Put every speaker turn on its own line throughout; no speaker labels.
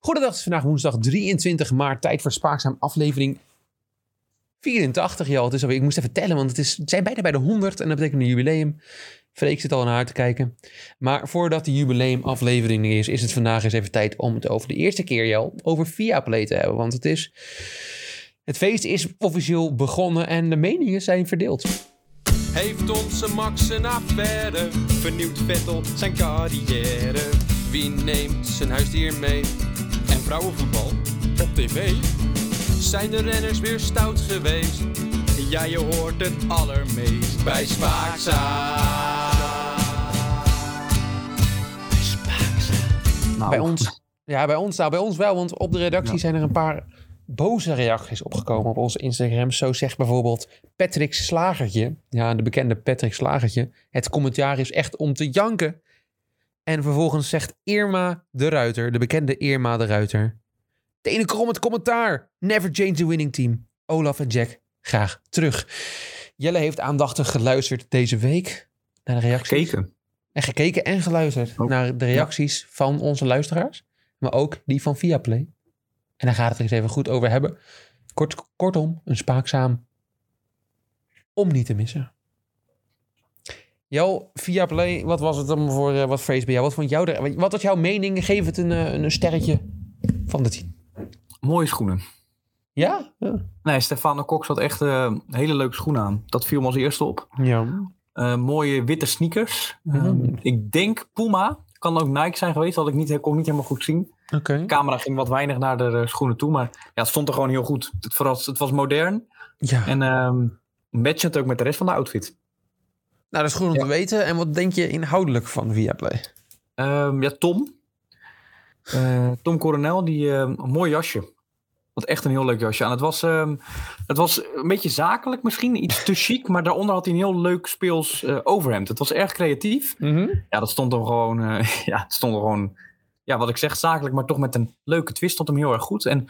Goedendag, het is vandaag woensdag 23 maart. Tijd voor Spaakzaam aflevering 84. Ja, het is alweer, ik moest even tellen, want het, is, het zijn bijna bij de 100 en dat betekent een jubileum. Freek zit al naar haar te kijken. Maar voordat de jubileumaflevering er is, is het vandaag eens even tijd om het over de eerste keer jou over Viaplay te hebben. Want het is... Het feest is officieel begonnen en de meningen zijn verdeeld.
Heeft onze Max een affaire? Vernieuwt Vettel zijn carrière? Wie neemt zijn huisdier mee? En vrouwenvoetbal op tv? Zijn de renners weer stout geweest? Ja, je hoort het allermeest bij Spaakzaam.
Nou,
Bij ons, ja, bij ons, nou, bij ons wel, want op de redactie
Ja.
zijn er een paar boze reacties opgekomen op onze Instagram. Zo zegt bijvoorbeeld Patrick Slagertje, ja, de bekende Patrick Slagertje, het commentaar is echt om te janken. En vervolgens zegt Irma de Ruiter, de bekende Irma de Ruiter, tenenkrom het commentaar, never change the winning team. Olaf en Jack, graag terug. Jelle heeft aandachtig geluisterd deze week naar de reacties.
Gekeken.
En gekeken en geluisterd
Oh,
naar de reacties van onze luisteraars. Maar ook die van Viaplay. En daar gaat het er eens even goed over hebben. Kort, kortom, een spaakzaam om niet te missen. Jo, Viaplay, wat was het dan voor, eh, wat vrees bij jou? Wat, vond jou er, wat was jouw mening? Geef het een, eh, een sterretje van de tien.
Mooie schoenen.
Ja? Ja.
Nee, Stefano Cox had echt eh, hele leuke schoenen aan. Dat viel me als eerste op.
ja.
Eh, mooie witte sneakers. Eh,
Mhm.
ik denk Puma. Kan ook Nike zijn geweest. Had ik niet, kon ik niet helemaal goed zien.
Oké.
De camera ging wat weinig naar de eh, schoenen toe. Maar ja, het stond er gewoon heel goed. Het, verras- het was modern.
Ja.
En ehm matchend ook met de rest van de outfit.
nou, dat is goed om
Ja.
te weten. En wat denk je inhoudelijk van Viaplay?
Ehm, ja, Tom. Eh, Tom Coronel, die, eh, een mooi jasje. Wat echt een heel leuk jasje. En het was, ehm, het was een beetje zakelijk misschien, iets te chic. Maar daaronder had hij een heel leuk speels eh, overhemd. Het was erg creatief. Ja, dat stond hem gewoon, eh, ja, het stond hem gewoon, ja, wat ik zeg, zakelijk. Maar toch met een leuke twist stond hem heel erg goed. En,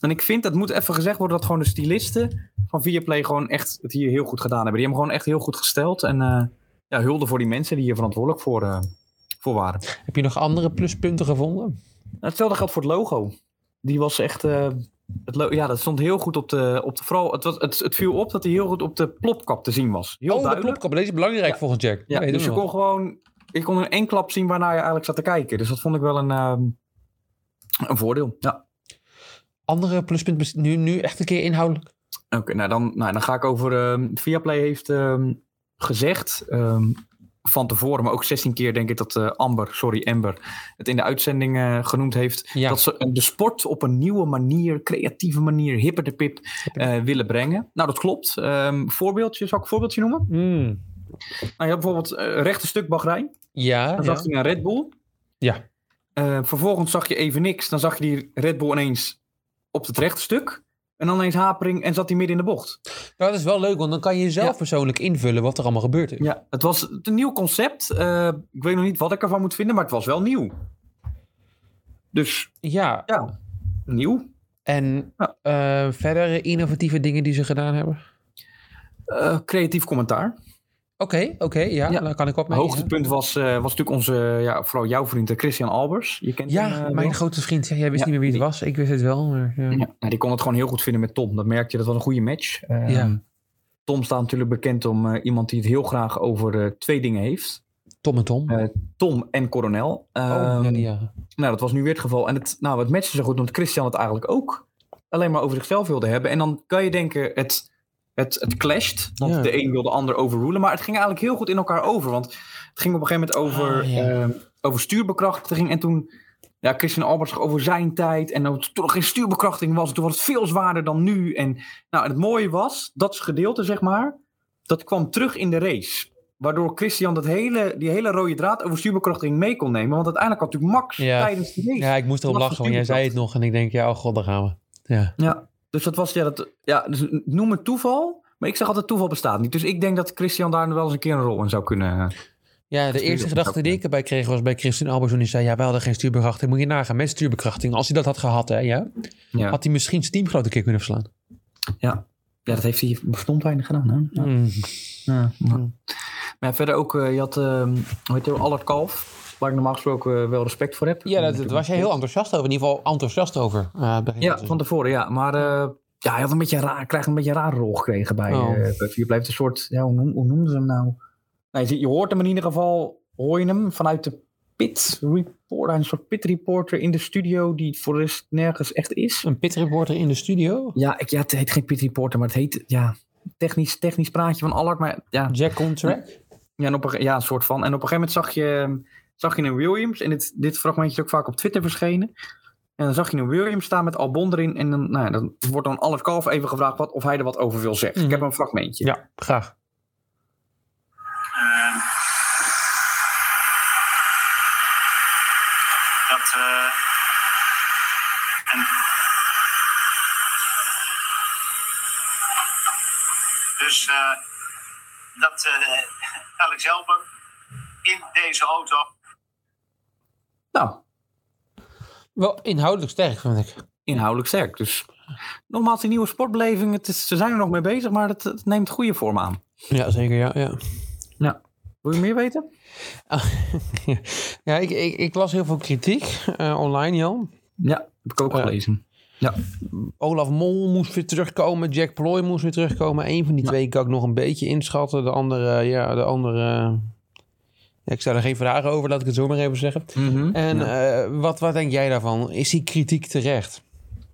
en ik vind, dat moet even gezegd worden, dat gewoon de stylisten van Viaplay gewoon echt het hier heel goed gedaan hebben. Die hebben gewoon echt heel goed gesteld. En eh, ja, hulde voor die mensen die hier verantwoordelijk voor, eh, voor waren.
Heb je nog andere pluspunten gevonden?
Nou, Hetzelfde geldt voor het logo. Die was echt. eh, het lo- ja, dat stond heel goed op de. Op de vooral, het, was, het, het viel op dat hij heel goed op de plopkap te zien was. Heel
oh, dat
duidelijk.
klopt. Kabbel. Deze is belangrijk
Ja.
volgens Jack.
Ja,
Weet
dus
ik
je
nog.
kon gewoon. Je kon in één klap zien waarnaar je eigenlijk zat te kijken. Dus dat vond ik wel een. ehm, een voordeel. Ja.
Andere pluspunt, bes- nu, nu echt een keer inhoudelijk.
Oké, nou, dan, nou dan ga ik over. ehm, Viaplay heeft ehm, gezegd. ehm, van tevoren, maar ook 16 keer denk ik dat eh, Amber, sorry Amber, het in de uitzending eh, genoemd heeft.
Ja,
Dat ze de sport op een nieuwe manier, creatieve manier, hipper de pip eh, willen brengen. Nou, dat klopt. Ehm, voorbeeldje, zal ik een voorbeeldje noemen?
Mm.
Nou, je had bijvoorbeeld eh rechte stuk Bahrein.
ja,
Dan
ja.
zag je een Red Bull.
Ja.
Eh, vervolgens zag je even niks. Dan zag je die Red Bull ineens op het rechte stuk. En dan ineens hapering en zat hij midden in de bocht.
Nou, dat is wel leuk, want dan kan je zelf
Ja.
persoonlijk invullen wat er allemaal gebeurd is.
Ja, het was een nieuw concept. Eh, ik weet nog niet wat ik ervan moet vinden, maar het was wel nieuw. Dus
Ja,
ja, nieuw.
en
Ja.
eh, verdere innovatieve dingen die ze gedaan hebben. Oké,
Eh, creatief commentaar.
oké, ja,
Ja.
daar kan ik op mee.
Hoogtepunt was, eh, was natuurlijk onze, ja, vooral jouw vriend eh, Christian Albers. Je kent
Ja,
hem, eh,
mijn
wel.
grote vriend. Ja, jij wist
Ja,
niet meer wie het
die-
was. Ik wist het wel. Maar, ja.
Ja, nou, die kon het gewoon heel goed vinden met Tom. Dat merkte je, dat was een goede match. Ehm,
Ja.
Tom staat natuurlijk bekend om eh, iemand die het heel graag over eh, twee dingen heeft.
Tom en Tom.
Eh, Tom en Coronel.
oh, ja,
Ehm,
ja.
Nou, dat was nu weer het geval. En het, nou, het matchte zo goed, omdat Christian het eigenlijk ook alleen maar over zichzelf wilde hebben. En dan kan je denken, het, het, het clasht. Want
Ja.
de een wil de ander overrulen. Maar het ging eigenlijk heel goed in elkaar over. Want het ging op een gegeven moment over,
Ah, ja.
ehm, over stuurbekrachtiging. En toen, ja, Christian Albers zag over zijn tijd. En dat toen er geen stuurbekrachtiging was. Toen was het veel zwaarder dan nu. En nou, het mooie was, dat gedeelte, zeg maar, dat kwam terug in de race. Waardoor Christian dat hele, die hele rode draad over stuurbekrachtiging mee kon nemen. Want uiteindelijk had natuurlijk Max
Ja.
tijdens de race.
ja, ik moest erop
was
lachen, want jij
natuurlijk
zei
dat.
het nog. En ik denk, ja, oh god, daar gaan we. Ja.
Ja, dus dat was, ja, dat, ja dus noem het toeval. Maar ik zeg altijd, toeval bestaat niet. Dus ik denk dat Christian daar wel eens een keer een rol in zou kunnen.
Ja, de
Stuur-
eerste gedachte die ik erbij kreeg was bij Christian Albers toen hij zei... ja, wij hadden geen stuurbekrachting. Moet je nagaan, met stuurbekrachting. Als hij dat had gehad, hè, ja,
Ja,
had hij misschien zijn team grote keer kunnen verslaan.
ja dat heeft hij bestond weinig gedaan. Hè? Ja.
Mm. Hmm.
Ja. Maar verder ook, eh, je had, ehm hoe heet hij, Allard Kalf. Waar ik normaal gesproken eh, wel respect voor heb.
Ja,
En
daar
natuurlijk-
was jij heel enthousiast over. In ieder geval enthousiast over. eh, begin
Ja,
te zien.
van tevoren, ja. Maar eh, ja, hij had een beetje een raar, krijgt een beetje een rare rol gekregen bij,
Oh.
eh bij Philip. Hij heeft een soort, ja, hoe, noem- hoe noemden ze hem nou? Nou, je, ziet- je hoort hem in ieder geval, hoor je hem vanuit de pit reporter, een soort pit reporter in de studio die voor de rest nergens echt is.
Een pitreporter in de studio.
Ja, ik, ja het heet geen pit reporter, maar het heet, ja, technisch, technisch praatje van Allard. Maar ja,
Jack on track.
ja, en op een, ge- ja, een soort van. En op een gegeven moment zag je, zag je een Williams. En dit, dit fragmentje is ook vaak op Twitter verschenen. En dan zag je een Williams staan met Albon erin. En dan, nou ja, dan wordt dan Alex Kalf even gevraagd wat, of hij er wat over wil zeggen.
Mhm.
Ik heb een fragmentje.
Ja, graag.
Ehm, dat. eh, en, dus eh, dat eh, Alex Elben in deze auto.
Nou,
Wel inhoudelijk sterk, vind ik.
inhoudelijk sterk. Dus nogmaals, die nieuwe sportbeleving. Het is, ze zijn er nog mee bezig, maar het, het neemt goede vorm aan.
Ja, zeker. Ja, ja.
Wil je meer weten?
ja ik, ik, ik las heel veel kritiek eh, online, Jan.
Ja, heb ik ook
Ja.
gelezen.
Olaf Mol moest weer terugkomen. Jack Ploy moest weer terugkomen. Eén van die
Ja.
twee kan ik nog een beetje inschatten. De andere, eh, ja, de andere... eh, ja, ik stel er geen vragen over, laat ik het zo maar even zeggen. En
Ja.
eh, wat, wat denk jij daarvan? Is die kritiek terecht?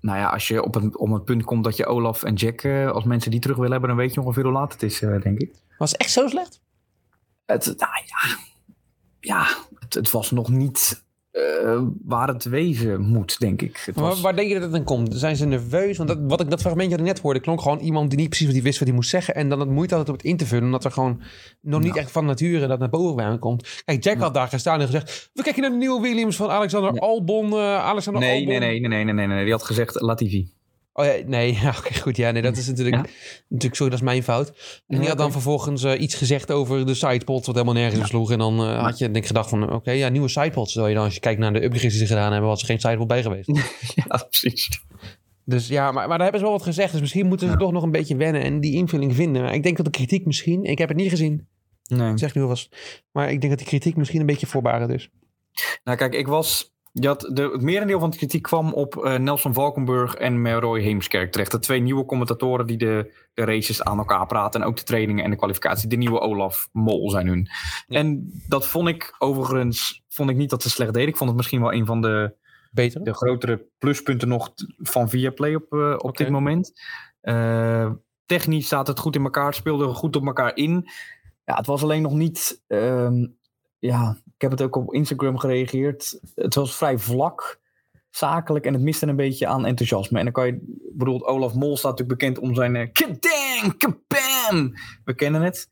Nou ja, als je op een, om het punt komt dat je Olaf en Jack eh, als mensen die terug willen hebben, dan weet je ongeveer hoe laat het is, eh, denk ik.
Was het echt zo slecht?
Het, nou ja, ja het, het was nog niet eh, waar het wezen moet, denk ik. Het
Waar,
was,
waar denk je dat het dan komt? Zijn ze nerveus? Want dat, wat ik dat fragmentje dat ik net hoorde, klonk gewoon iemand die niet precies wat hij wist wat hij moest zeggen. En dan het moeite had om het in te vullen, omdat er gewoon nog niet
Nou.
echt van nature dat naar boven bij hem komt. Kijk, Jack had daar gestaan en gezegd, we kijken naar de nieuwe Williams van Alexander
Nee.
Albon. eh, Alexander
nee,
Albon.
nee, nee, nee, nee, nee, nee, nee. Die had gezegd Latifi.
Oh ja, nee, ja, oké, goed. Ja, nee, dat is natuurlijk,
Ja.
natuurlijk... Sorry, dat is mijn fout. En die
Ja,
had dan
oké.
vervolgens eh, iets gezegd over de sidepod, wat helemaal nergens sloeg. En dan eh, had je denk ik gedacht van, oké, ja, nieuwe sidepods. Terwijl je dan, als je kijkt naar de upgrades die ze gedaan hebben, was er geen sidepod bij geweest.
Ja, precies.
Dus ja, maar, maar daar hebben ze wel wat gezegd. Dus misschien moeten ze toch nog een beetje wennen en die invulling vinden. Maar ik denk dat de kritiek misschien... Ik heb het niet gezien,
Nee.
ik zeg nu alvast. Maar ik denk dat die kritiek misschien een beetje voorbaren is.
Nou kijk, ik was... Je had de, het merendeel van de kritiek kwam op eh, Nelson Valkenburg en Roy Heemskerk terecht. De twee nieuwe commentatoren die de, de races aan elkaar praten. En ook de trainingen en de kwalificatie. De nieuwe Olaf Mol zijn hun.
Ja.
En dat vond ik overigens vond ik niet dat ze slecht deden. Ik vond het misschien wel een van de
Beter?
de grotere pluspunten nog t- van Viaplay op, eh, op
Oké.
dit moment. Eh, technisch staat het goed in elkaar, het speelde goed op elkaar in. Ja, het was alleen nog niet. ehm, ja, ik heb het ook op Instagram gereageerd. Het was vrij vlak, zakelijk en het miste een beetje aan enthousiasme. En dan kan je, ik bedoel, Olaf Mol staat natuurlijk bekend om zijn. eh, Kedang, kabam! We kennen het.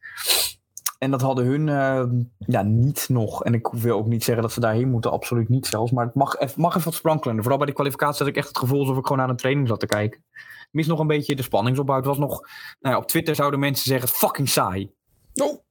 En dat hadden hun eh, ja, niet nog. En ik wil ook niet zeggen dat ze daarheen moeten. Absoluut niet zelfs. Maar het mag, eff- mag even wat sprankelender. Vooral bij de kwalificatie had ik echt het gevoel alsof ik gewoon naar een training zat te kijken. Ik Mis nog een beetje de spanningsopbouw. Het was nog... Nou ja, op Twitter zouden mensen zeggen, fucking saai. Nou.
Oh.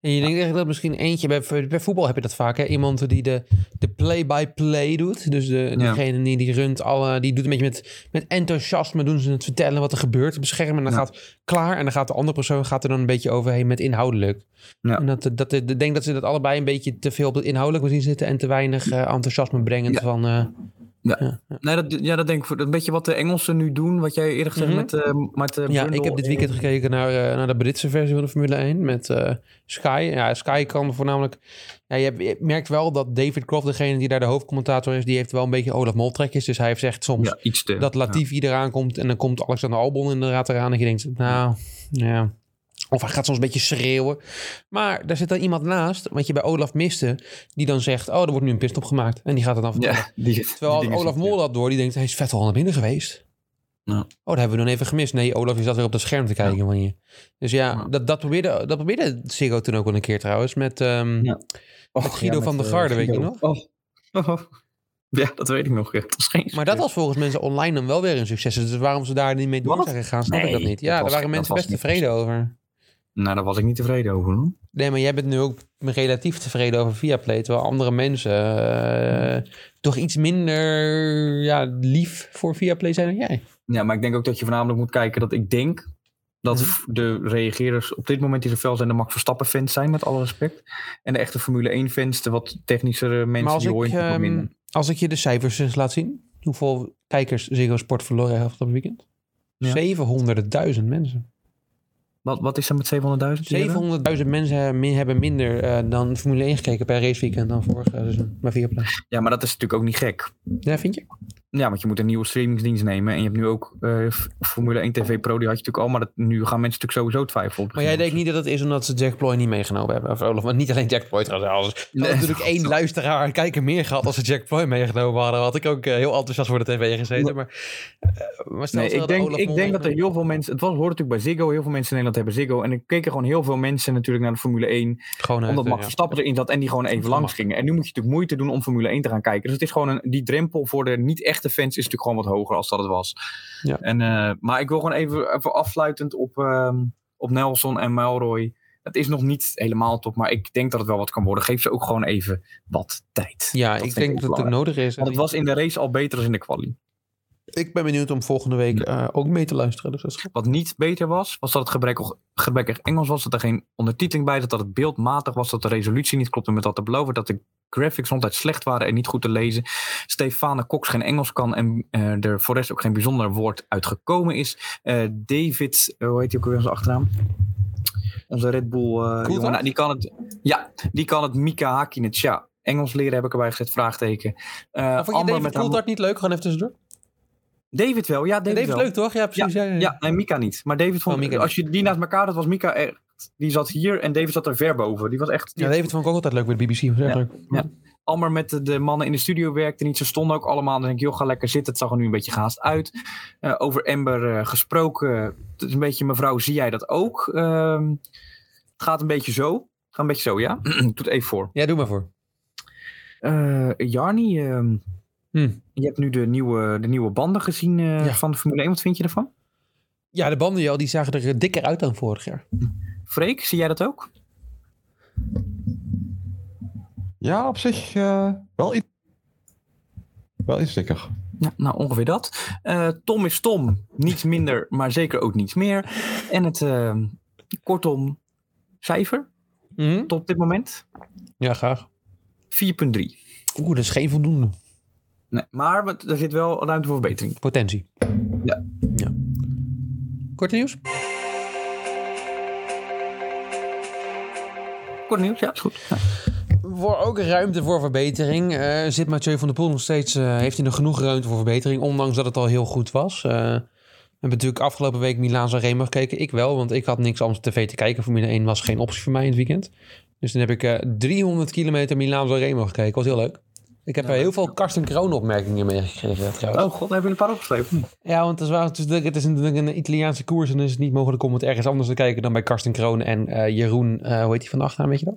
En je denkt echt dat misschien eentje... Bij, bij voetbal heb je dat vaak, hè? Iemand die de de play-by-play doet. Dus de, degene die, die runt alle... Die doet een beetje met, met enthousiasme. Doen ze het vertellen wat er gebeurt op het scherm. En dan
Ja.
gaat klaar. En dan gaat de andere persoon gaat er dan een beetje overheen met inhoudelijk.
Ja.
En dat, dat, ik denk dat ze dat allebei een beetje te veel op het inhoudelijk zien zitten. En te weinig eh, enthousiasme brengend
Ja.
van... eh,
Nee, dat, ja, dat denk ik. voor- Dat een beetje wat de Engelsen nu doen. Wat jij eerder gezegd
Mhm.
met, eh, met eh,
Ja,
Brundle
ik heb dit
en-
weekend gekeken naar, eh, naar de Britse versie van de Formule 1 met eh, Sky. Ja, Sky kan voornamelijk... Ja, je, hebt- je merkt wel dat David Croft, degene die daar de hoofdcommentator is... die heeft wel een beetje Olaf Mol trekjes. Dus hij heeft zegt soms
Ja, iets te...
dat Latifi eraan komt... en dan komt Alexander Albon inderdaad eraan. En je denkt, nou, ja... Of hij gaat soms een beetje schreeuwen. Maar daar zit dan iemand naast, wat je bij Olaf miste... die dan zegt, oh, er wordt nu een pitstop gemaakt. En die gaat het dan vertellen.
Ja, die, die
Terwijl als
dingen
Olaf
zitten.
Mol dat door, die denkt, hij is vet al naar binnen geweest.
Ja.
Oh, dat hebben we dan even gemist. Nee, Olaf is dat weer op dat scherm te kijken van je. Dus ja,
Ja.
Dat, dat probeerde, dat probeerde Ziggo toen ook wel een keer trouwens. Met, ehm,
Ja.
met Guido van der
eh,
Garde, weet je
Guido. Oh. Oh. Ja, dat weet ik nog. ja. Dat was geen
Maar dat was volgens mensen online dan wel weer een succes. Dus waarom ze daar niet mee door
Wat?
zijn gegaan, snap ik dat
Nee,
niet.
dat
Ja,
was-
daar waren
dat
mensen
was
best
niet
tevreden over.
Nou, daar was ik niet tevreden over. hoor.
Nee, maar jij bent nu ook relatief tevreden over Viaplay. Terwijl andere mensen eh, toch iets minder ja, lief voor Viaplay zijn dan jij.
Ja, maar ik denk ook dat je voornamelijk moet kijken dat ik denk Dat
Mhm.
de reageerders op dit moment die zo fel zijn de Max Verstappen fans zijn, met alle respect. En de echte Formule 1 fans, de wat technischere
maar
mensen
als
die hoor
ik,
je
ehm,
um, minder.
als ik je de cijfers eens laat zien. Hoeveel kijkers Ziggo Sport verloren heeft op het weekend?
Ja.
700.000 mensen.
Wat, wat is er met 700.000? die hebben?
700.000 mensen hebben min- hebben minder eh, dan Formule 1 gekeken per raceweekend dan vorig eh, seizoen. Maar vier plaats.
Ja, maar dat is natuurlijk ook niet gek.
Ja, vind je?
Ja, want je moet een nieuwe streamingsdienst nemen. En je hebt nu ook eh, F- Formule 1 TV Pro, die had je natuurlijk al. Maar dat, nu gaan mensen natuurlijk sowieso twijfelen. op.
Maar jij denkt niet dat het is omdat ze Jack Ploy niet meegenomen hebben. Of Olaf, maar niet alleen Jack Ploy trouwens. Als
Nee.
natuurlijk één luisteraar en kijker meer gehad als ze Jack Ploy meegenomen hadden. Had ik ook eh, heel enthousiast voor de tv gezeten. Maar, eh, maar stel,
Nee,
ze
ik
hadden
denk,
Olaf
ik
Mol
denk dat er
meegenomen.
heel veel mensen... Het was, hoort natuurlijk bij Ziggo. Heel veel mensen in Nederland hebben Ziggo. En er keken gewoon heel veel mensen natuurlijk naar de Formule 1.
Gewoon uit,
omdat
eh,
Max
ja.
Verstappen erin zat en die gewoon even
Van
langs
Max.
gingen. En nu moet je natuurlijk moeite doen om Formule 1 te gaan kijken. Dus het is gewoon een, die drempel voor de niet-echte fans is natuurlijk gewoon wat hoger als dat het was.
Ja.
En, eh, maar ik wil gewoon even, even afsluitend op, ehm, op Nelson en Melroy. Het is nog niet helemaal top, maar ik denk dat het wel wat kan worden. Geef ze ook gewoon even wat tijd.
Ja,
Dat
ik
vind
denk
ook
dat het ook
belangrijk.
nodig is.
Want het was in de race al beter dan in de kwalie.
Ik ben benieuwd om volgende week eh, ook mee te luisteren. Dus dat is goed.
Wat niet beter was, was dat het gebrek- gebrekkig Engels was. Dat er geen ondertiteling bij zat. Dat het beeld matig was. Dat de resolutie niet klopte met dat te beloven. Dat de graphics altijd slecht waren en niet goed te lezen. Stefane Cox geen Engels kan. En eh, er voor de rest ook geen bijzonder woord uitgekomen is. Eh, David, eh, hoe heet hij ook weer zijn achternaam? Onze Red Bull. eh,
Coulthard?
jongen, nou, die kan het. Ja, die kan het Mika Hakkinen. Tja, Engels leren heb ik erbij gezet. Vraagteken. Eh,
Maar vond je
Amber
David
met haar
Coulthard niet leuk? Gewoon even tussendoor.
mo- David wel, ja, David,
David,
wel.
leuk toch? Ja, precies. Ja, ja, ja.
Ja, en Mika niet. Maar David vond,
Oh, Mika
als je die naast elkaar, dat was Mika echt. Die zat hier en David zat er ver boven. Die was echt.
Ja, David vond ik ook altijd leuk bij de BBC. was echt
Ja.
leuk.
Ja. Almer met de, de mannen in de studio werkte niet. Ze stonden ook allemaal. Dan denk ik, joh, ga lekker zitten. Het zag er nu een beetje gehaast uit. Eh, over Amber eh, gesproken. Het is een beetje, mevrouw, zie jij dat ook? Ehm, het gaat een beetje zo. Het gaat een beetje zo, ja. Doe het even voor.
Ja, doe maar voor.
Eh, Jarni, ehm,
Hmm.
je hebt nu de nieuwe, de nieuwe banden gezien eh,
Ja.
van de Formule 1. Wat vind je ervan?
Ja, de banden joh, die zagen er eh, dikker uit dan vorig jaar.
Freek, zie jij dat ook?
Ja, op zich eh, wel iets. Wel iets dikker.
Ja, nou, ongeveer dat. Eh, Tom is Tom. Niet minder, maar zeker ook niet meer. En het, eh, kortom, cijfer
Mhm.
tot op dit moment? 4,3.
Ja, graag. Oeh, dat is geen voldoende.
Nee, maar wat- er zit wel ruimte voor verbetering.
Potentie.
Ja.
ja. Kort nieuws?
Kort nieuws, ja, is goed. Ja.
Voor ook ruimte voor verbetering. Eh, zit Mathieu van der Poel nog steeds, eh, heeft hij nog genoeg ruimte voor verbetering, ondanks dat het al heel goed was. Eh, we hebben natuurlijk afgelopen week Milaan Sanremo gekeken. Ik wel, want ik had niks anders op tv te kijken. Formule 1 was geen optie voor mij in het weekend. Dus dan heb ik eh, 300 kilometer Milaan Sanremo gekeken. Was heel leuk. Ik heb eh, heel veel Karsten Kroon opmerkingen meegekregen eh, trouwens.
Oh god, daar hebben we een paar opgeschreven.
Ja, want het is, waar, het is, het is een, een Italiaanse koers en is het niet mogelijk om het ergens anders te kijken dan bij Karsten Kroon en eh, Jeroen, eh, hoe heet die van de achternaam, weet je dat?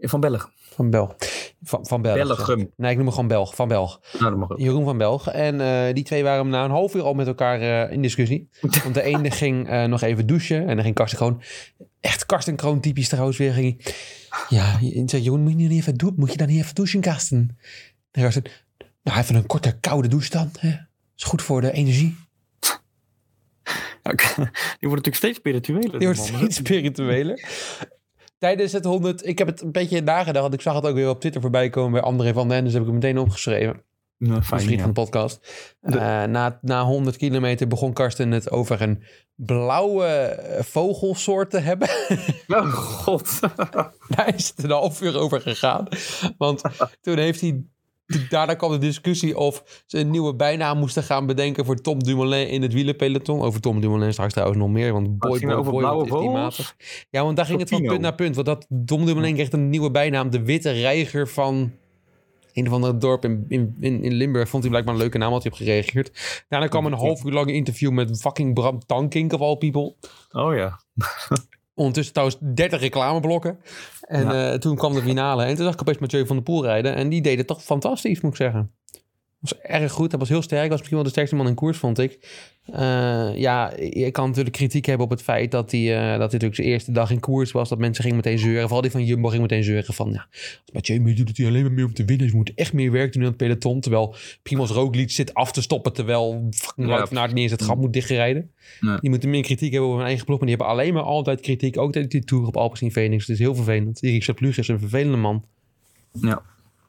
Van Bellegem.
Van Bel. Van, van Belg.
Bellegem.
Nee, ik noem hem gewoon Belg. Van Belg.
Nou, dat mag ook.
Jeroen van Belg. En eh, die twee waren na een half uur al met elkaar eh, in discussie. Want de ene ging eh, nog even douchen en dan ging Karsten Kroon... Echt Karsten Kroon typisch trouwens weer. Ging, hij, ja, en zei Jeroen, moet je, niet even dou- moet je dan niet even douchen, Karsten? En Karsten, nou even een korte koude douche dan. Hè? Is goed voor de energie.
Ja, ik- Die wordt natuurlijk steeds spiritueler.
Die wordt
man.
steeds spiritueler. Tijdens het 100, ik heb het een beetje nagedacht. want Ik zag het ook weer op Twitter voorbij komen bij André van den. Ende, Dus heb ik het meteen opgeschreven.
Nou,
Een
fijn,
vriend
ja.
van de podcast. Eh, na, na 100 kilometer begon Karsten het over een blauwe eh, vogelsoort te hebben.
Oh god.
Daar is het een half uur over gegaan. Want toen heeft hij. Daarna kwam de discussie of ze een nieuwe bijnaam moesten gaan bedenken voor Tom Dumoulin in het wielerpeloton. Over Tom Dumoulin straks trouwens nog meer, want boy,
ging
boy,
over
boy,
blauwe
wat is die
vogels?
matig. Ja, want daar ging het van
Topino.
punt naar punt. Want dat Tom Dumoulin kreeg een nieuwe bijnaam, de witte reiger van een of ander dorp in, in, in, in Limburg. Vond hij blijkbaar een leuke naam, had hij op gereageerd. Daarna kwam een half uur lang interview met fucking Bram Tankink of all people.
Oh ja.
Ondertussen trouwens 30 reclameblokken. En eh, toen kwam de finale. En toen zag ik opeens Mathieu van der Poel rijden. En die deed het toch fantastisch, moet ik zeggen. was erg goed. Hij was heel sterk. was misschien wel de sterkste man in koers, vond ik. Eh, ja, je kan natuurlijk kritiek hebben op het feit dat hij, eh, dat hij natuurlijk zijn eerste dag in koers was. Dat mensen gingen meteen zeuren. Vooral die van Jumbo ging meteen zeuren van... Ja, als Mathieu meedoet, doet hij alleen maar meer om te winnen. Hij moet echt meer werk doen aan het peloton. Terwijl Primoz Roglic zit af te stoppen... terwijl fucking
Ja,
Wout van Aert niet eens het gat moet dichtrijden.
Ja.
Die moeten meer kritiek hebben op hun eigen ploeg. Maar die hebben alleen maar altijd kritiek. Ook tijdens die Tour op Alpecin Phoenix. Het is heel vervelend. Erik Sapluug is een vervelende man.
Ja.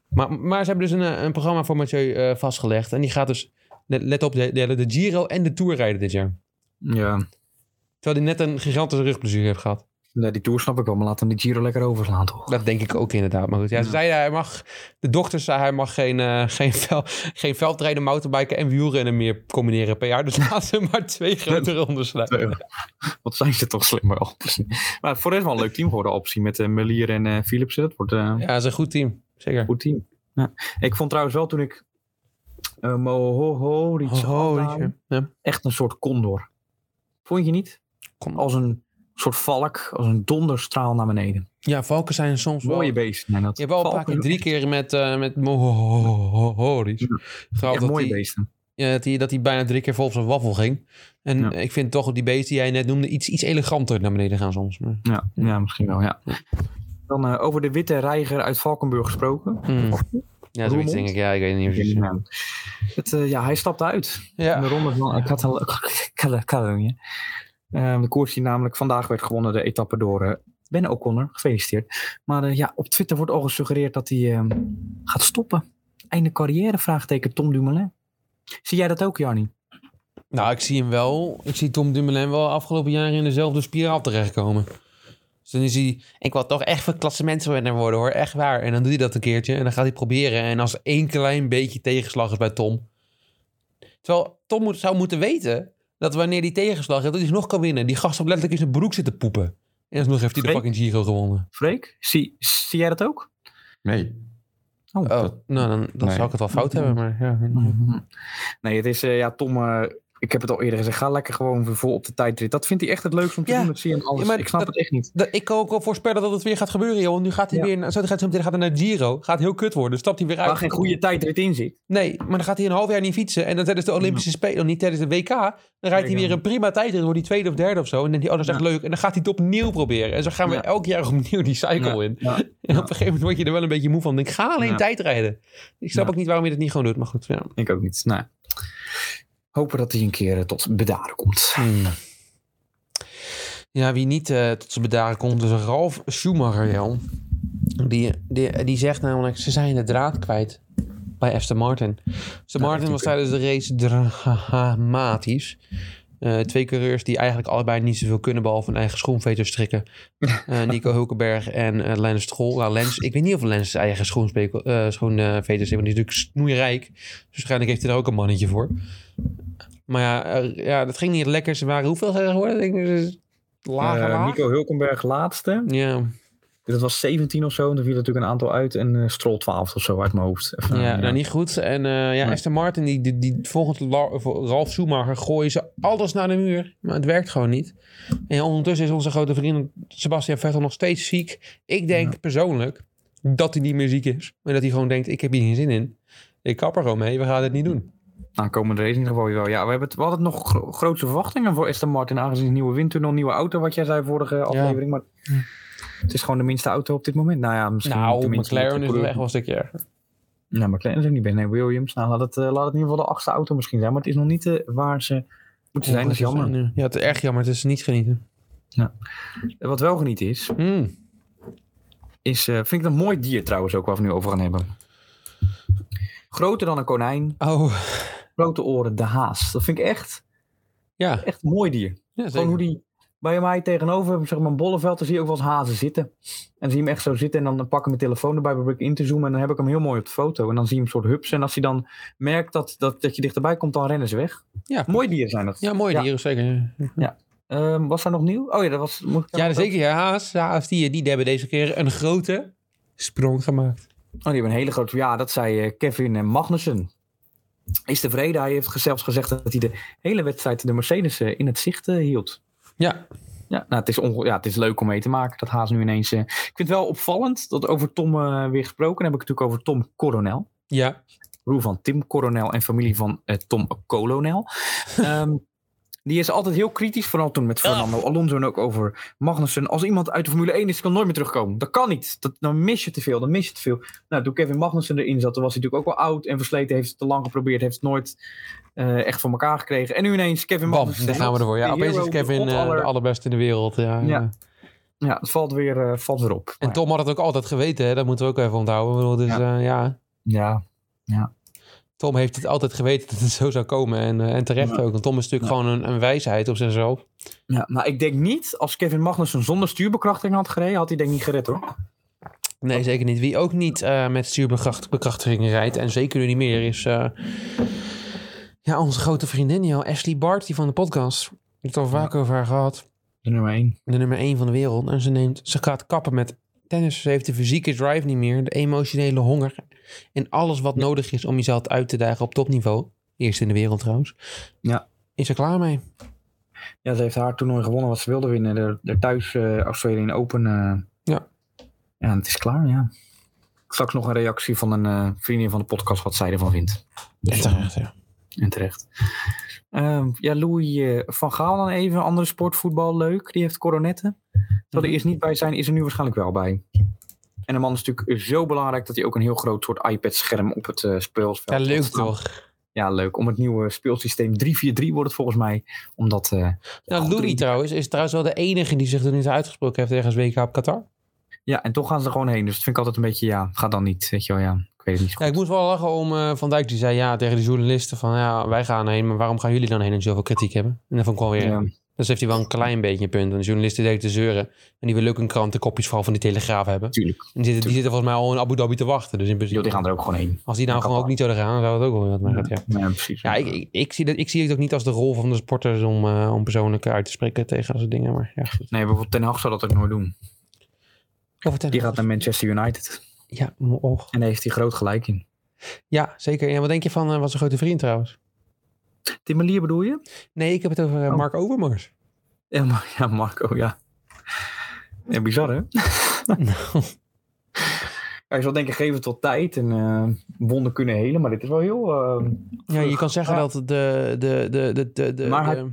Maar, maar ze hebben dus een, eh, een programma voor Mathieu eh, vastgelegd. En die gaat dus, let, let op, de, de, de Giro en de Tour rijden dit jaar.
Ja.
Terwijl hij net een gigantische rugplezier heeft gehad.
Nee, die tour snap ik wel, maar laat hem die Giro lekker overslaan toch?
Dat denk ik ook inderdaad. Maar goed, ja, ze
Ja.
zeiden hij mag, de dochter zei hij mag geen, eh, geen, vel, geen veldrijden, mountainbiken en wielrennen meer combineren per jaar. Dus laten ze maar twee grote rondes rijden.
Wat zijn ze toch slimmer Alpecin. Maar voor de rest wel een leuk team voor de Alpecin met eh Melier en eh, Philipsen. Dat wordt eh,
Ja, dat is een goed team. Zeker.
een goed team. Ja. Ik vond trouwens wel toen ik eh Mohoho
Oh,
oh,
holy shit. ja.
echt een soort condor. Vond je niet?
Condor.
Als een soort valk, als een donderstraal naar beneden.
ja, valken zijn soms wel...
Mooie beesten zijn dat.
Je hebt wel een paar
Valken
keer, drie
zijn
keer met, eh met Mohohoris.
Echt mooie beesten.
Ja, dat, hij, dat hij bijna drie keer vol op zijn waffel ging. En
Ja.
ik vind toch die beesten die jij net noemde iets, iets eleganter naar beneden gaan soms. Maar,
Ja, ja, misschien wel, ja. Dan eh, over de witte reiger uit Valkenburg gesproken.
mm. Ja, zoiets
Hmm. Roermond?
denk ik. Ja, ik weet niet precies.
Ja. Het, eh, ja, hij stapte uit. In de
Ja.
ronde van eh, Catal- Catal- Catalonië. Ehm, de koers die namelijk vandaag werd gewonnen, de etappe door eh, Ben O'Connor. Gefeliciteerd. Maar eh, ja, op Twitter wordt al gesuggereerd dat hij ehm, gaat stoppen. Einde carrière, vraagteken Tom Dumoulin. Zie jij dat ook, Jarni?
Nou, ik zie hem wel. Ik zie Tom Dumoulin wel afgelopen jaren in dezelfde spiraal terechtkomen. Dus dan is hij... Ik wil toch echt klassementsrenner worden hoor. Echt waar. En dan doet hij dat een keertje. En dan gaat hij proberen. En als er één klein beetje tegenslag is bij Tom... Terwijl Tom moet, zou moeten weten... dat wanneer die tegenslag heeft... dat hij nog kan winnen. Die gast heeft letterlijk in zijn broek zitten poepen. En alsnog heeft hij de
Freek?
fucking Giro gewonnen.
Freek, zie, zie jij dat ook?
Nee.
Oh,
Dat-
nou, dan, dan
nee.
zou ik het wel fout hebben, maar ja.
Mhm. Nee, het is, eh, ja, Tom, eh, ik heb het al eerder gezegd, ga lekker gewoon weer vol op de tijdrit. Dat vindt hij echt het leukste om te
Ja.
doen, dat zie je in alles.
Ja, maar
ik snap
dat-
het echt niet.
Dat- Ik kan ook wel voorspellen dat het weer gaat gebeuren, joh. Nu gaat hij
Ja.
weer, naar- zo gaat hij zo meteen gaat hij naar Giro. Gaat heel kut worden, dus stapt hij weer uit.
Waar geen goede tijdrit in zit.
Nee, maar dan gaat hij een half jaar niet fietsen. En dan tijdens de Olympische
Mm.
Spelen, niet tijdens de WK, dan rijdt hij
dan-
weer een prima tijdrit. Wordt hij tweede of derde of zo. En dan denkt hij, oh, dat is echt leuk. En dan gaat hij het opnieuw proberen. En zo gaan we
Ja.
elk jaar opnieuw die cycle in.
Ja.
En op een gegeven moment word je er wel een beetje moe van. Denk, ga alleen
Ja.
tijdrijden. Ik snap
Ja.
ook niet waarom je dat niet gewoon doet, maar goed. Ja.
Ik ook niet. Nou, hopen dat hij een keer eh, tot bedaren komt.
Hmm. Ja, wie niet eh, tot zijn bedaren komt, is Ralf Schumacher, Jan. Die, die, die zegt namelijk, ze zijn de draad kwijt bij Aston Martin. Aston Martin was tijdens de race dramatisch. Eh, twee coureurs die eigenlijk allebei niet zoveel kunnen... behalve hun eigen schoenveters strikken. Eh, Nico Hulkenberg en eh, Lens Stroll. Nou, Lens, ik weet niet of Lens zijn eigen schoenspekel- eh, schoenveters heeft... want die is natuurlijk snoeirijk. Dus waarschijnlijk heeft hij daar ook een mannetje voor. Maar ja, er- ja dat ging niet lekker. Ze waren hoeveel zijn er geworden? Ik denk, eh, laag,
Eh,
laag.
Nico Hulkenberg laatste.
Ja,
Dat was 17 of zo. En er viel natuurlijk een aantal uit. En eh Stroll 12 of zo uit mijn hoofd. Even,
ja,
eh,
nou niet goed. En eh, ja,
Nee.
Aston Martin, die, die, die volgens La- voor Ralf Schumacher gooien ze alles naar de muur. Maar het werkt gewoon niet. En ondertussen is onze grote vriend Sebastian Vettel nog steeds ziek. Ik denk persoonlijk dat hij niet meer ziek is. Maar dat hij gewoon denkt, ik heb hier geen zin in. Ik kap er gewoon mee, we gaan dit niet doen.
Aankomende race in ieder geval weer wel. Ja, we, hebben het, we hadden nog gro- grootste verwachtingen voor Aston Martin. Aangezien het nieuwe windtunnel, nieuwe auto. Wat jij zei vorige aflevering. Maar het is gewoon de minste auto op dit moment. Nou ja, misschien...
nou,
tenminste met de
McLaren is wel
coureur.
echt wel een stukje erger.
Nou, McLaren is ook niet bij. Nee, Williams. Nou, laat het, eh, laat het in ieder geval de achtste auto misschien zijn. Maar het is nog niet eh, waar ze moeten zijn. Dat is jammer.
Ja, het is echt jammer. Het is niet genieten.
Eh, Wat wel geniet is,
Mm.
is, eh, vind ik een mooi dier trouwens ook waar we het nu over gaan hebben. Groter dan een konijn,
Oh,
grote oren, de haas. Dat vind ik echt,
ja.
echt een mooi dier.
ja zeker.
Gewoon hoe die bij mij tegenover, zeg maar een bolleveld, dan zie je ook wel eens hazen zitten. En dan zie je hem echt zo zitten en dan pak ik mijn telefoon erbij, probeer ik in te zoomen en dan heb ik hem heel mooi op de foto. En dan zie je hem soort hups en als hij dan merkt dat, dat, dat je dichterbij komt, dan rennen ze weg.
Ja.
Mooi dier zijn dat.
Ja, mooi
Ja.
dieren, zeker. ja.
Ehm, was daar nog nieuw? Oh ja, dat was... Moet ik daar
Ja,
nog
zeker. Ja, Haas, de Haas die, die hebben deze keer een grote sprong gemaakt.
Oh, die hebben een hele grote... Ja, dat zei eh, Kevin eh, Magnussen. Is tevreden. Hij heeft ge- zelfs gezegd dat hij de hele wedstrijd de Mercedes eh, in het zicht eh, hield.
Ja,
Ja, nou, het, is onge- ja, het is leuk om mee te maken. Dat haast nu ineens... eh, Ik vind het wel opvallend dat over Tom eh, weer gesproken. Dan heb ik het natuurlijk over Tom Coronel.
ja.
broer van Tim Coronel en familie van eh, Tom Colonel. Ehm, die is altijd heel kritisch, vooral toen met Fernando Alonso en ook over Magnussen. Als iemand uit de Formule 1 is, kan nooit meer terugkomen. Dat kan niet. Dat, dan mis je te veel, dan mis je te veel. Nou, toen Kevin Magnussen erin zat, toen was hij natuurlijk ook wel oud en versleten. Heeft het te lang geprobeerd, heeft het nooit eh, echt voor elkaar gekregen. En nu ineens Kevin
Bam,
Magnussen.
daar gaan we ervoor. Ja,
dus de
opeens
hero,
is Kevin
de
eh,
aller-
de allerbeste in de wereld. Ja,
Ja.
ja.
Ja, het valt weer, eh, valt weer op.
En
Maar
Tom had het ook altijd geweten, hè? dat moeten we ook even onthouden. Ik bedoel, Dus ja. ja,
Ja,
Tom heeft het altijd geweten dat het zo zou komen. En, eh, en terecht
Ja.
ook. Want Tom is natuurlijk
Ja.
gewoon een, een wijsheid op zichzelf.
ja, maar ik denk niet, als Kevin Magnussen zonder stuurbekrachtiging had gereden, had hij denk ik niet gered hoor.
Nee, zeker niet. Wie ook niet eh, met stuurbekrachtiging rijdt en zeker nu niet meer is... eh, ja, onze grote vriendin, joh, Ashley Bart, die van de podcast. Ik heb het al vaak over haar gehad.
De nummer 1.
De nummer 1 van de wereld. En ze, neemt, ze gaat kappen met tennis. Ze heeft de fysieke drive niet meer. De emotionele honger. En alles wat nodig is om jezelf uit te dagen op topniveau. Eerst in de wereld trouwens.
Ja.
Is ze klaar mee.
Ja, ze heeft haar toernooi gewonnen wat ze wilde winnen. De, de thuis eh Australian Open. eh.
Ja.
Ja, het is klaar, ja. Straks nog een reactie van een eh, vriendin van de podcast wat zij ervan vindt.
En terecht, ja.
En terecht. Ehm, ja, Louis eh, van Gaal dan even. Andere sportvoetbal, leuk. Die heeft coronetten.
Mhm.
Zal er eerst niet bij zijn, is er nu waarschijnlijk wel bij. En de man is natuurlijk zo belangrijk dat hij ook een heel groot soort iPad-scherm op het eh
Ja,
speelsveld
leuk
had staan.
toch.
Ja, leuk. Om het nieuwe speelsysteem 3-4-3 wordt het volgens mij. Omdat, eh,
Ja,
goed,
Nou, Louis trouwens is trouwens wel de enige die zich er niet uitgesproken heeft ergens WK op Qatar.
Ja, en toch gaan ze er gewoon heen. Dus dat vind ik altijd een beetje, ja, ga dan niet. Weet je wel, ja, ik weet het niet.
Ja, ik moest wel lachen om eh, Van Dijk die zei ja tegen de journalisten van ja, wij gaan heen, maar waarom gaan jullie dan heen en zoveel kritiek hebben? En dan vond ik wel weer,
Ja.
dus heeft hij wel een klein beetje een punt. En de journalisten deden te zeuren en die willen ook een krantenkopjes vooral van die Telegraaf hebben.
Tuurlijk.
En die zitten, die zitten volgens mij al in Abu Dhabi te wachten. Dus in
Joh, die
principe,
gaan er ook gewoon heen.
als die nou
Dat
gewoon ook
kan
niet zouden gaan, zou het ook wel wat mij gaat, ja.
Ja, precies.
Ja, ik, ik, ik zie dat, ik zie het ook niet als de rol van de sporters om, eh, om persoonlijk uit te spreken tegen dat soort dingen. Maar ja, goed.
Nee, bijvoorbeeld Ten Hag zou dat ook nooit doen.
Over tennis.
Die gaat naar Manchester United.
Ja, maar och.
En daar heeft hij groot gelijk in.
ja, zeker. En wat denk je van eh, wat zijn grote vriend trouwens?
Timmelier bedoel je?
Nee, ik heb het over eh,
Oh.
Mark Overmars.
Ja, Mar- ja, Marco, ja. Ja, bizar hè? Hij zal denken, geef het tot tijd en eh, wonden kunnen helen. Maar dit is wel heel... eh,
Ja, je kan zeggen
Ja.
dat de... de, de, de, de, de
Maar hij-
de-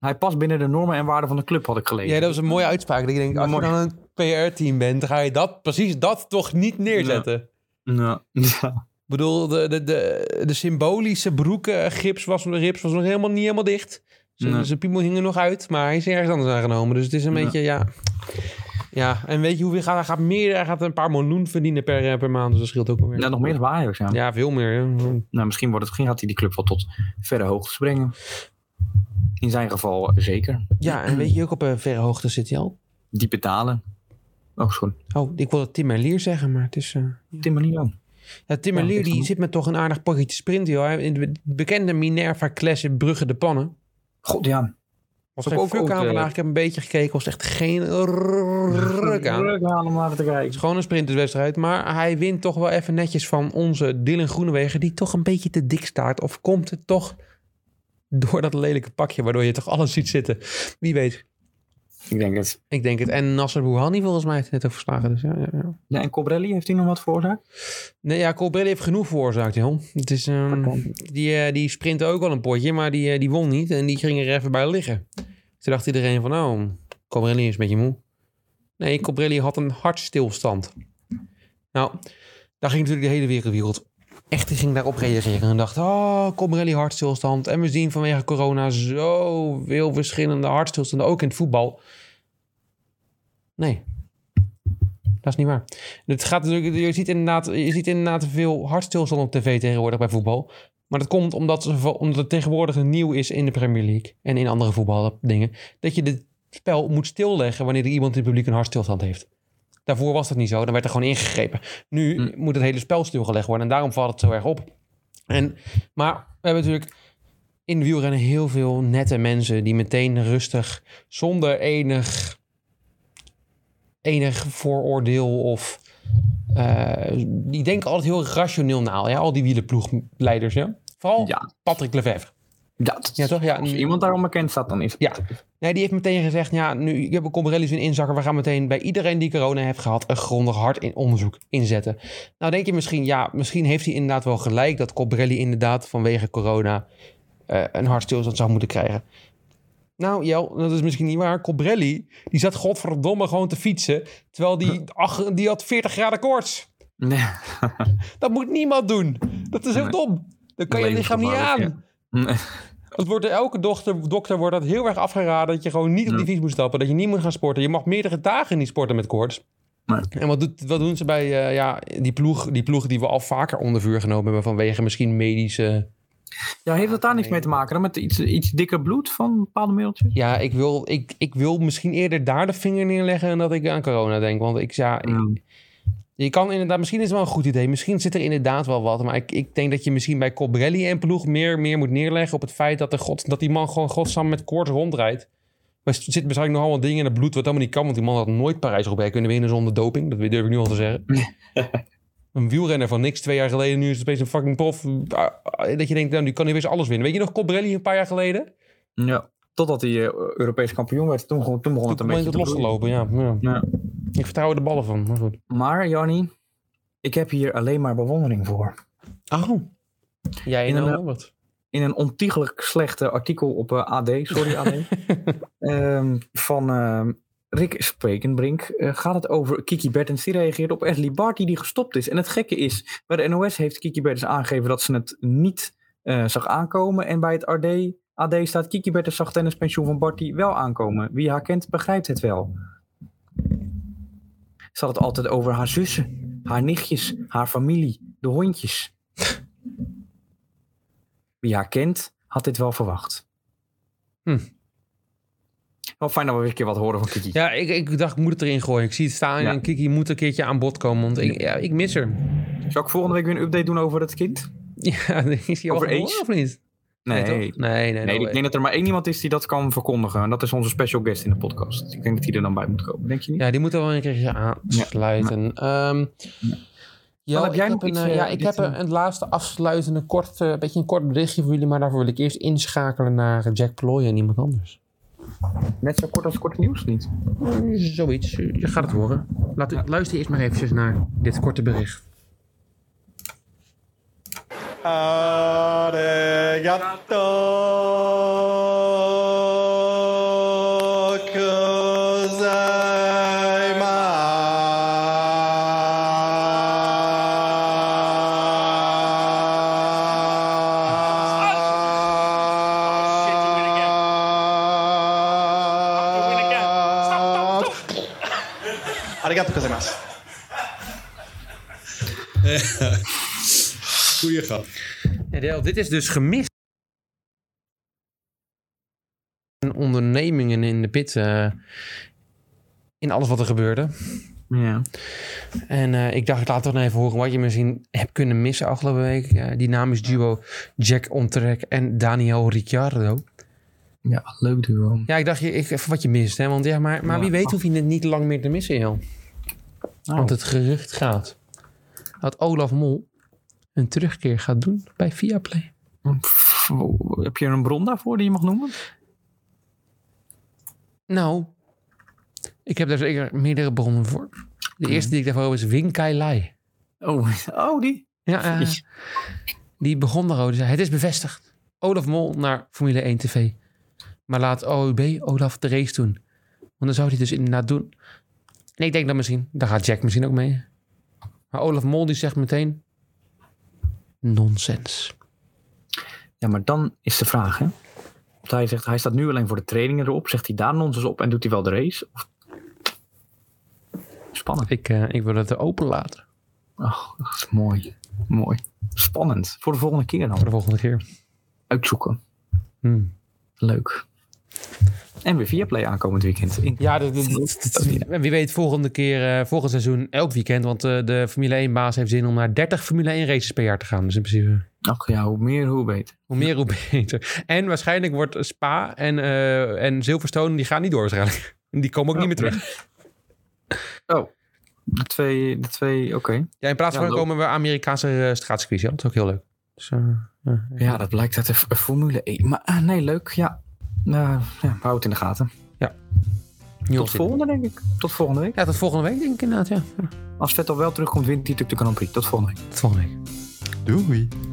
hij past binnen de normen en waarden van de club, had ik gelezen.
ja, dat was een mooie uitspraak. Dat ik denk,
Ja,
als je
mooi.
dan een PR-team bent, dan ga je dat, precies dat toch niet neerzetten.
Ja. Ja.
Ik bedoel, de, de, de, de symbolische broeken, gips was, rips was nog helemaal niet helemaal dicht. Zijn,
Nee.
zijn piemel hing er nog uit, maar hij is ergens anders aangenomen. Dus het is een
Ja.
beetje, ja... Ja, en weet je hoeveel gaat? Hij gaat meer, hij gaat een paar miljoen verdienen per, eh, per maand. Dus dat scheelt ook wel weer.
Ja, nog meer dan bij Ajax, ja.
Ja, veel meer. hè.
Nou, misschien, wordt het, misschien gaat hij die club wel tot verre hoogtes brengen. In zijn geval eh, zeker.
Ja, en weet je ook op een verre hoogte zit hij al?
Diepe dalen. Ook schoon.
Oh, ik wilde Tim Merlier zeggen, maar het is... eh,
Tim Leo.
Ja, Tim
Ja,
Merlier,
ik
die
geloof-
zit met toch een aardig pakje sprint, joh. Hij- In de bekende Minerva Classic Brugge de Pannen.
God, ja.
Was
Heb
geen
ook
fuck
ook,
aan
eh,
vandaag. Ik heb een beetje gekeken. Was echt geen ruk aan. Het
Druk aan om naar te
is
kijken.
gewoon een sprinterswedstrijd. Maar hij wint toch wel even netjes van onze Dylan Groenewegen. Die toch een beetje te dik staat. Of komt het toch door dat lelijke pakje. Waardoor je toch alles ziet zitten. Wie weet.
Ik denk het.
Ik denk het. En Nasser Bouhanni volgens mij heeft het net ook verslagen. Dus ja, ja, ja.
Ja, en Cobrelli, heeft hij nog wat veroorzaakt?
Nee, ja, Colbrelli heeft genoeg veroorzaakt, joh. Het is, ehm, die, eh, die sprintte ook wel een potje, maar die, eh, die won niet. En die ging er even bij liggen. Toen dacht iedereen van, nou, Cobrelli is een beetje moe. Nee, Cobrelli had een hartstilstand. Nou, daar ging natuurlijk de hele wereldwereld echt die ging daarop reageren. En dacht, oh, Cobrelli hartstilstand. En we zien vanwege corona zoveel verschillende hartstilstanden, ook in het voetbal. Nee, dat is niet waar. Het gaat natuurlijk, je, ziet inderdaad, je ziet inderdaad veel hartstilstand op tv tegenwoordig bij voetbal. Maar dat komt omdat, ze- omdat het tegenwoordig nieuw is in de Premier League en in andere voetbaldingen. Dat je het spel moet stilleggen wanneer er iemand in het publiek een hartstilstand heeft. Daarvoor was dat niet zo, dan werd er gewoon ingegrepen. Nu
Hm.
moet het hele spel stilgelegd worden en daarom valt het zo erg op. En, maar we hebben natuurlijk in de wielrennen heel veel nette mensen die meteen rustig, zonder enig, enig vooroordeel of eh, die denken altijd heel rationeel na. Ja? Al die wielenploegleiders. Ja? Vooral
Ja.
Patrick Lefevre.
Ja, dat-
Ja, toch? Ja,
als
mm.
iemand daarom bekend staat, dan is het.
Ja. Nee, die heeft meteen gezegd, ja, nu hebben Combrelli zijn inzakken. We gaan meteen bij iedereen die corona heeft gehad een grondig hard in onderzoek inzetten. Nou denk je misschien, ja, misschien heeft hij inderdaad wel gelijk dat Combrelli inderdaad vanwege corona eh, een hartstilstand zou moeten krijgen. Nou, Jel, dat is misschien niet waar. Combrelli, die zat godverdomme gewoon te fietsen, terwijl die, ach, die had 40 graden koorts.
Nee.
Dat moet niemand doen. Dat is heel
Nee.
dom. Dat kan je
Alleen
lichaam niet aan.
gevaarlijk, Nee.
Dat wordt door elke dokter, dokter wordt dat heel erg afgeraden dat je gewoon niet op die fiets moet stappen, dat je niet moet gaan sporten. Je mag meerdere dagen niet sporten met koorts.
Nee.
En wat, doet, wat doen ze bij eh, ja, die, ploeg, die ploeg die we al vaker onder vuur genomen hebben vanwege misschien medische...
Ja, heeft dat daar niks mee te maken? Dan met iets, iets dikker bloed van bepaalde middeltjes?
Ja, ik wil, ik, ik wil misschien eerder daar de vinger neerleggen dan dat ik aan corona denk. Want ik, ja, ik- je kan inderdaad, misschien is het wel een goed idee. Misschien zit er inderdaad wel wat. Maar ik, ik denk dat je misschien bij Cobrelli en ploeg meer, meer moet neerleggen op het feit dat, de god, dat die man gewoon godsam met koorts rondrijdt. Er zitten waarschijnlijk nogal wat dingen in het bloed wat helemaal niet kan. Want die man had nooit Parijs-Roubaix kunnen winnen zonder doping. Dat durf ik nu al te zeggen. een wielrenner van niks twee jaar geleden. Nu is het opeens een fucking prof. Ah, ah, Dat je denkt, nou, nu kan hij weer alles winnen. Weet je nog Cobrelli een paar jaar geleden?
Ja. Totdat hij eh, Europees kampioen werd, toen, gewoon- toen begon het een
Toen ben
beetje
ik het
te bloeien.
losgelopen, ja. ja.
Ja.
Ik vertrouw er de ballen van, maar goed.
Maar, Janni, ik heb hier alleen maar bewondering voor.
Oh. Jij en
In een-
Albert.
in een ontiegelijk slechte artikel op eh, AD, sorry AD, ehm, van ehm, Rick Spekenbrink, eh, gaat het over Kiki Bertens. Die reageerde op Ashley Barty die gestopt is. En het gekke is, bij de NOS heeft Kiki Bertens aangegeven dat ze het niet eh, zag aankomen. En bij het AD, AD staat Kiki Bertens zag tijdens pensioen van Barty wel aankomen. Wie haar kent, begrijpt het wel. Ze had het altijd over haar zussen, haar nichtjes, haar familie, de hondjes. Wie haar kent, had dit wel verwacht.
Hm.
Wel fijn dat we weer een keer wat horen van Kiki.
Ja, ik, ik dacht, ik moet het erin gooien. Ik zie het staan
Ja.
en Kiki moet een keertje aan bod komen, want ik, ja, ik mis hem.
Zal ik volgende week weer een update doen over het kind?
Ja, is hij al
Over
geboren
age?
of niet?
Nee.
toch?
Nee,
nee, nee.
ik denk dat er maar één iemand is die dat kan verkondigen. En dat is onze special guest in de podcast. Ik denk dat die er dan bij moet komen. Denk je niet?
Ja, die moet er wel een keertje aansluiten. Ehm ja,
heb jij
ik
nog
heb, een,
iets,
eh,
eh,
ja, ik
dit,
heb een,
eh,
een laatste afsluitende, kort, eh, beetje een kort berichtje voor jullie, maar daarvoor wil ik eerst inschakelen naar eh, Jack Ploy en iemand anders.
Net zo kort als kort nieuws niet.
Zoiets, je gaat het horen. Laat, Luister eerst maar eventjes naar dit korte bericht.
Arigato
shit, do it again. Do it again. Stop, stop, stop.
gozaimasu.
Goeie grap.
Ja, Del, dit is dus gemist. En Ondernemingen in de pit. eh, in alles wat er gebeurde.
Ja.
En eh, ik dacht, ik laat toch nog even horen wat je misschien hebt kunnen missen afgelopen week. Eh, dynamisch duo Jack Ontrek en Daniel Ricciardo.
ja, leuk duo.
Ja, ik dacht, je- ik, even wat je mist. Hè? Want, ja, maar maar
Ja.
wie weet hoef je het niet lang meer te missen, Jel. Want het gerucht gaat dat Olaf Mol een terugkeer gaat doen bij Viaplay.
Pff, Heb je een bron daarvoor die je mag noemen?
Nou, ik heb daar zeker meerdere bronnen voor. De eerste die ik daarvoor heb is Wing Kai Lai.
Oh, oh die.
Ja, eh,
Jeez.
die begon daarover. Die zei, het is bevestigd. Olaf Mol naar Formule 1 TV. Maar laat OUB Olaf de race doen. Want dan zou hij dus inderdaad doen. En ik denk dan misschien, daar gaat Jack misschien ook mee. Maar Olaf Mol die zegt meteen, nonsens.
Ja, maar dan is de vraag, hè? Want hij zegt, hij staat nu alleen voor de trainingen erop. Zegt hij daar nonsens op en doet hij wel de race? Of... Spannend.
Ik, eh, ik wil het er open laten
Ach, Oh, dat is mooi. Mooi. Spannend. Voor de volgende keer
voor
dan.
de volgende keer.
Uitzoeken.
Hmm.
Leuk. En weer Viaplay aankomend weekend. In...
Ja, dat, dat- dat- dat- wie weet volgende keer, eh, volgend seizoen, elk weekend. Want eh, de Formule 1-baas heeft zin om naar 30 Formule 1-races per jaar te gaan. Dus in principe,
Ach ja, hoe meer, hoe beter.
hoe meer, hoe beter. En waarschijnlijk wordt Spa en, eh en Silverstone, die gaan niet door waarschijnlijk. Die komen ook niet meer terug.
Oh, De twee, de twee oké.
Ja, in plaats
Ja,
van
leuk.
komen we Amerikaanse eh, straatcircuits. Ja, dat is ook heel leuk. Dus, eh,
Ja, dat blijkt uit de f- Formule 1. Maar eh, nee, leuk. Ja. Nou, ja, hou het in de gaten. Tot volgende, denk ik. Tot volgende week.
Ja, tot volgende week denk ik inderdaad, ja.
Als Vettel wel terugkomt, wint hij natuurlijk de Grand Prix. Tot volgende week.
Tot volgende week.
Doei.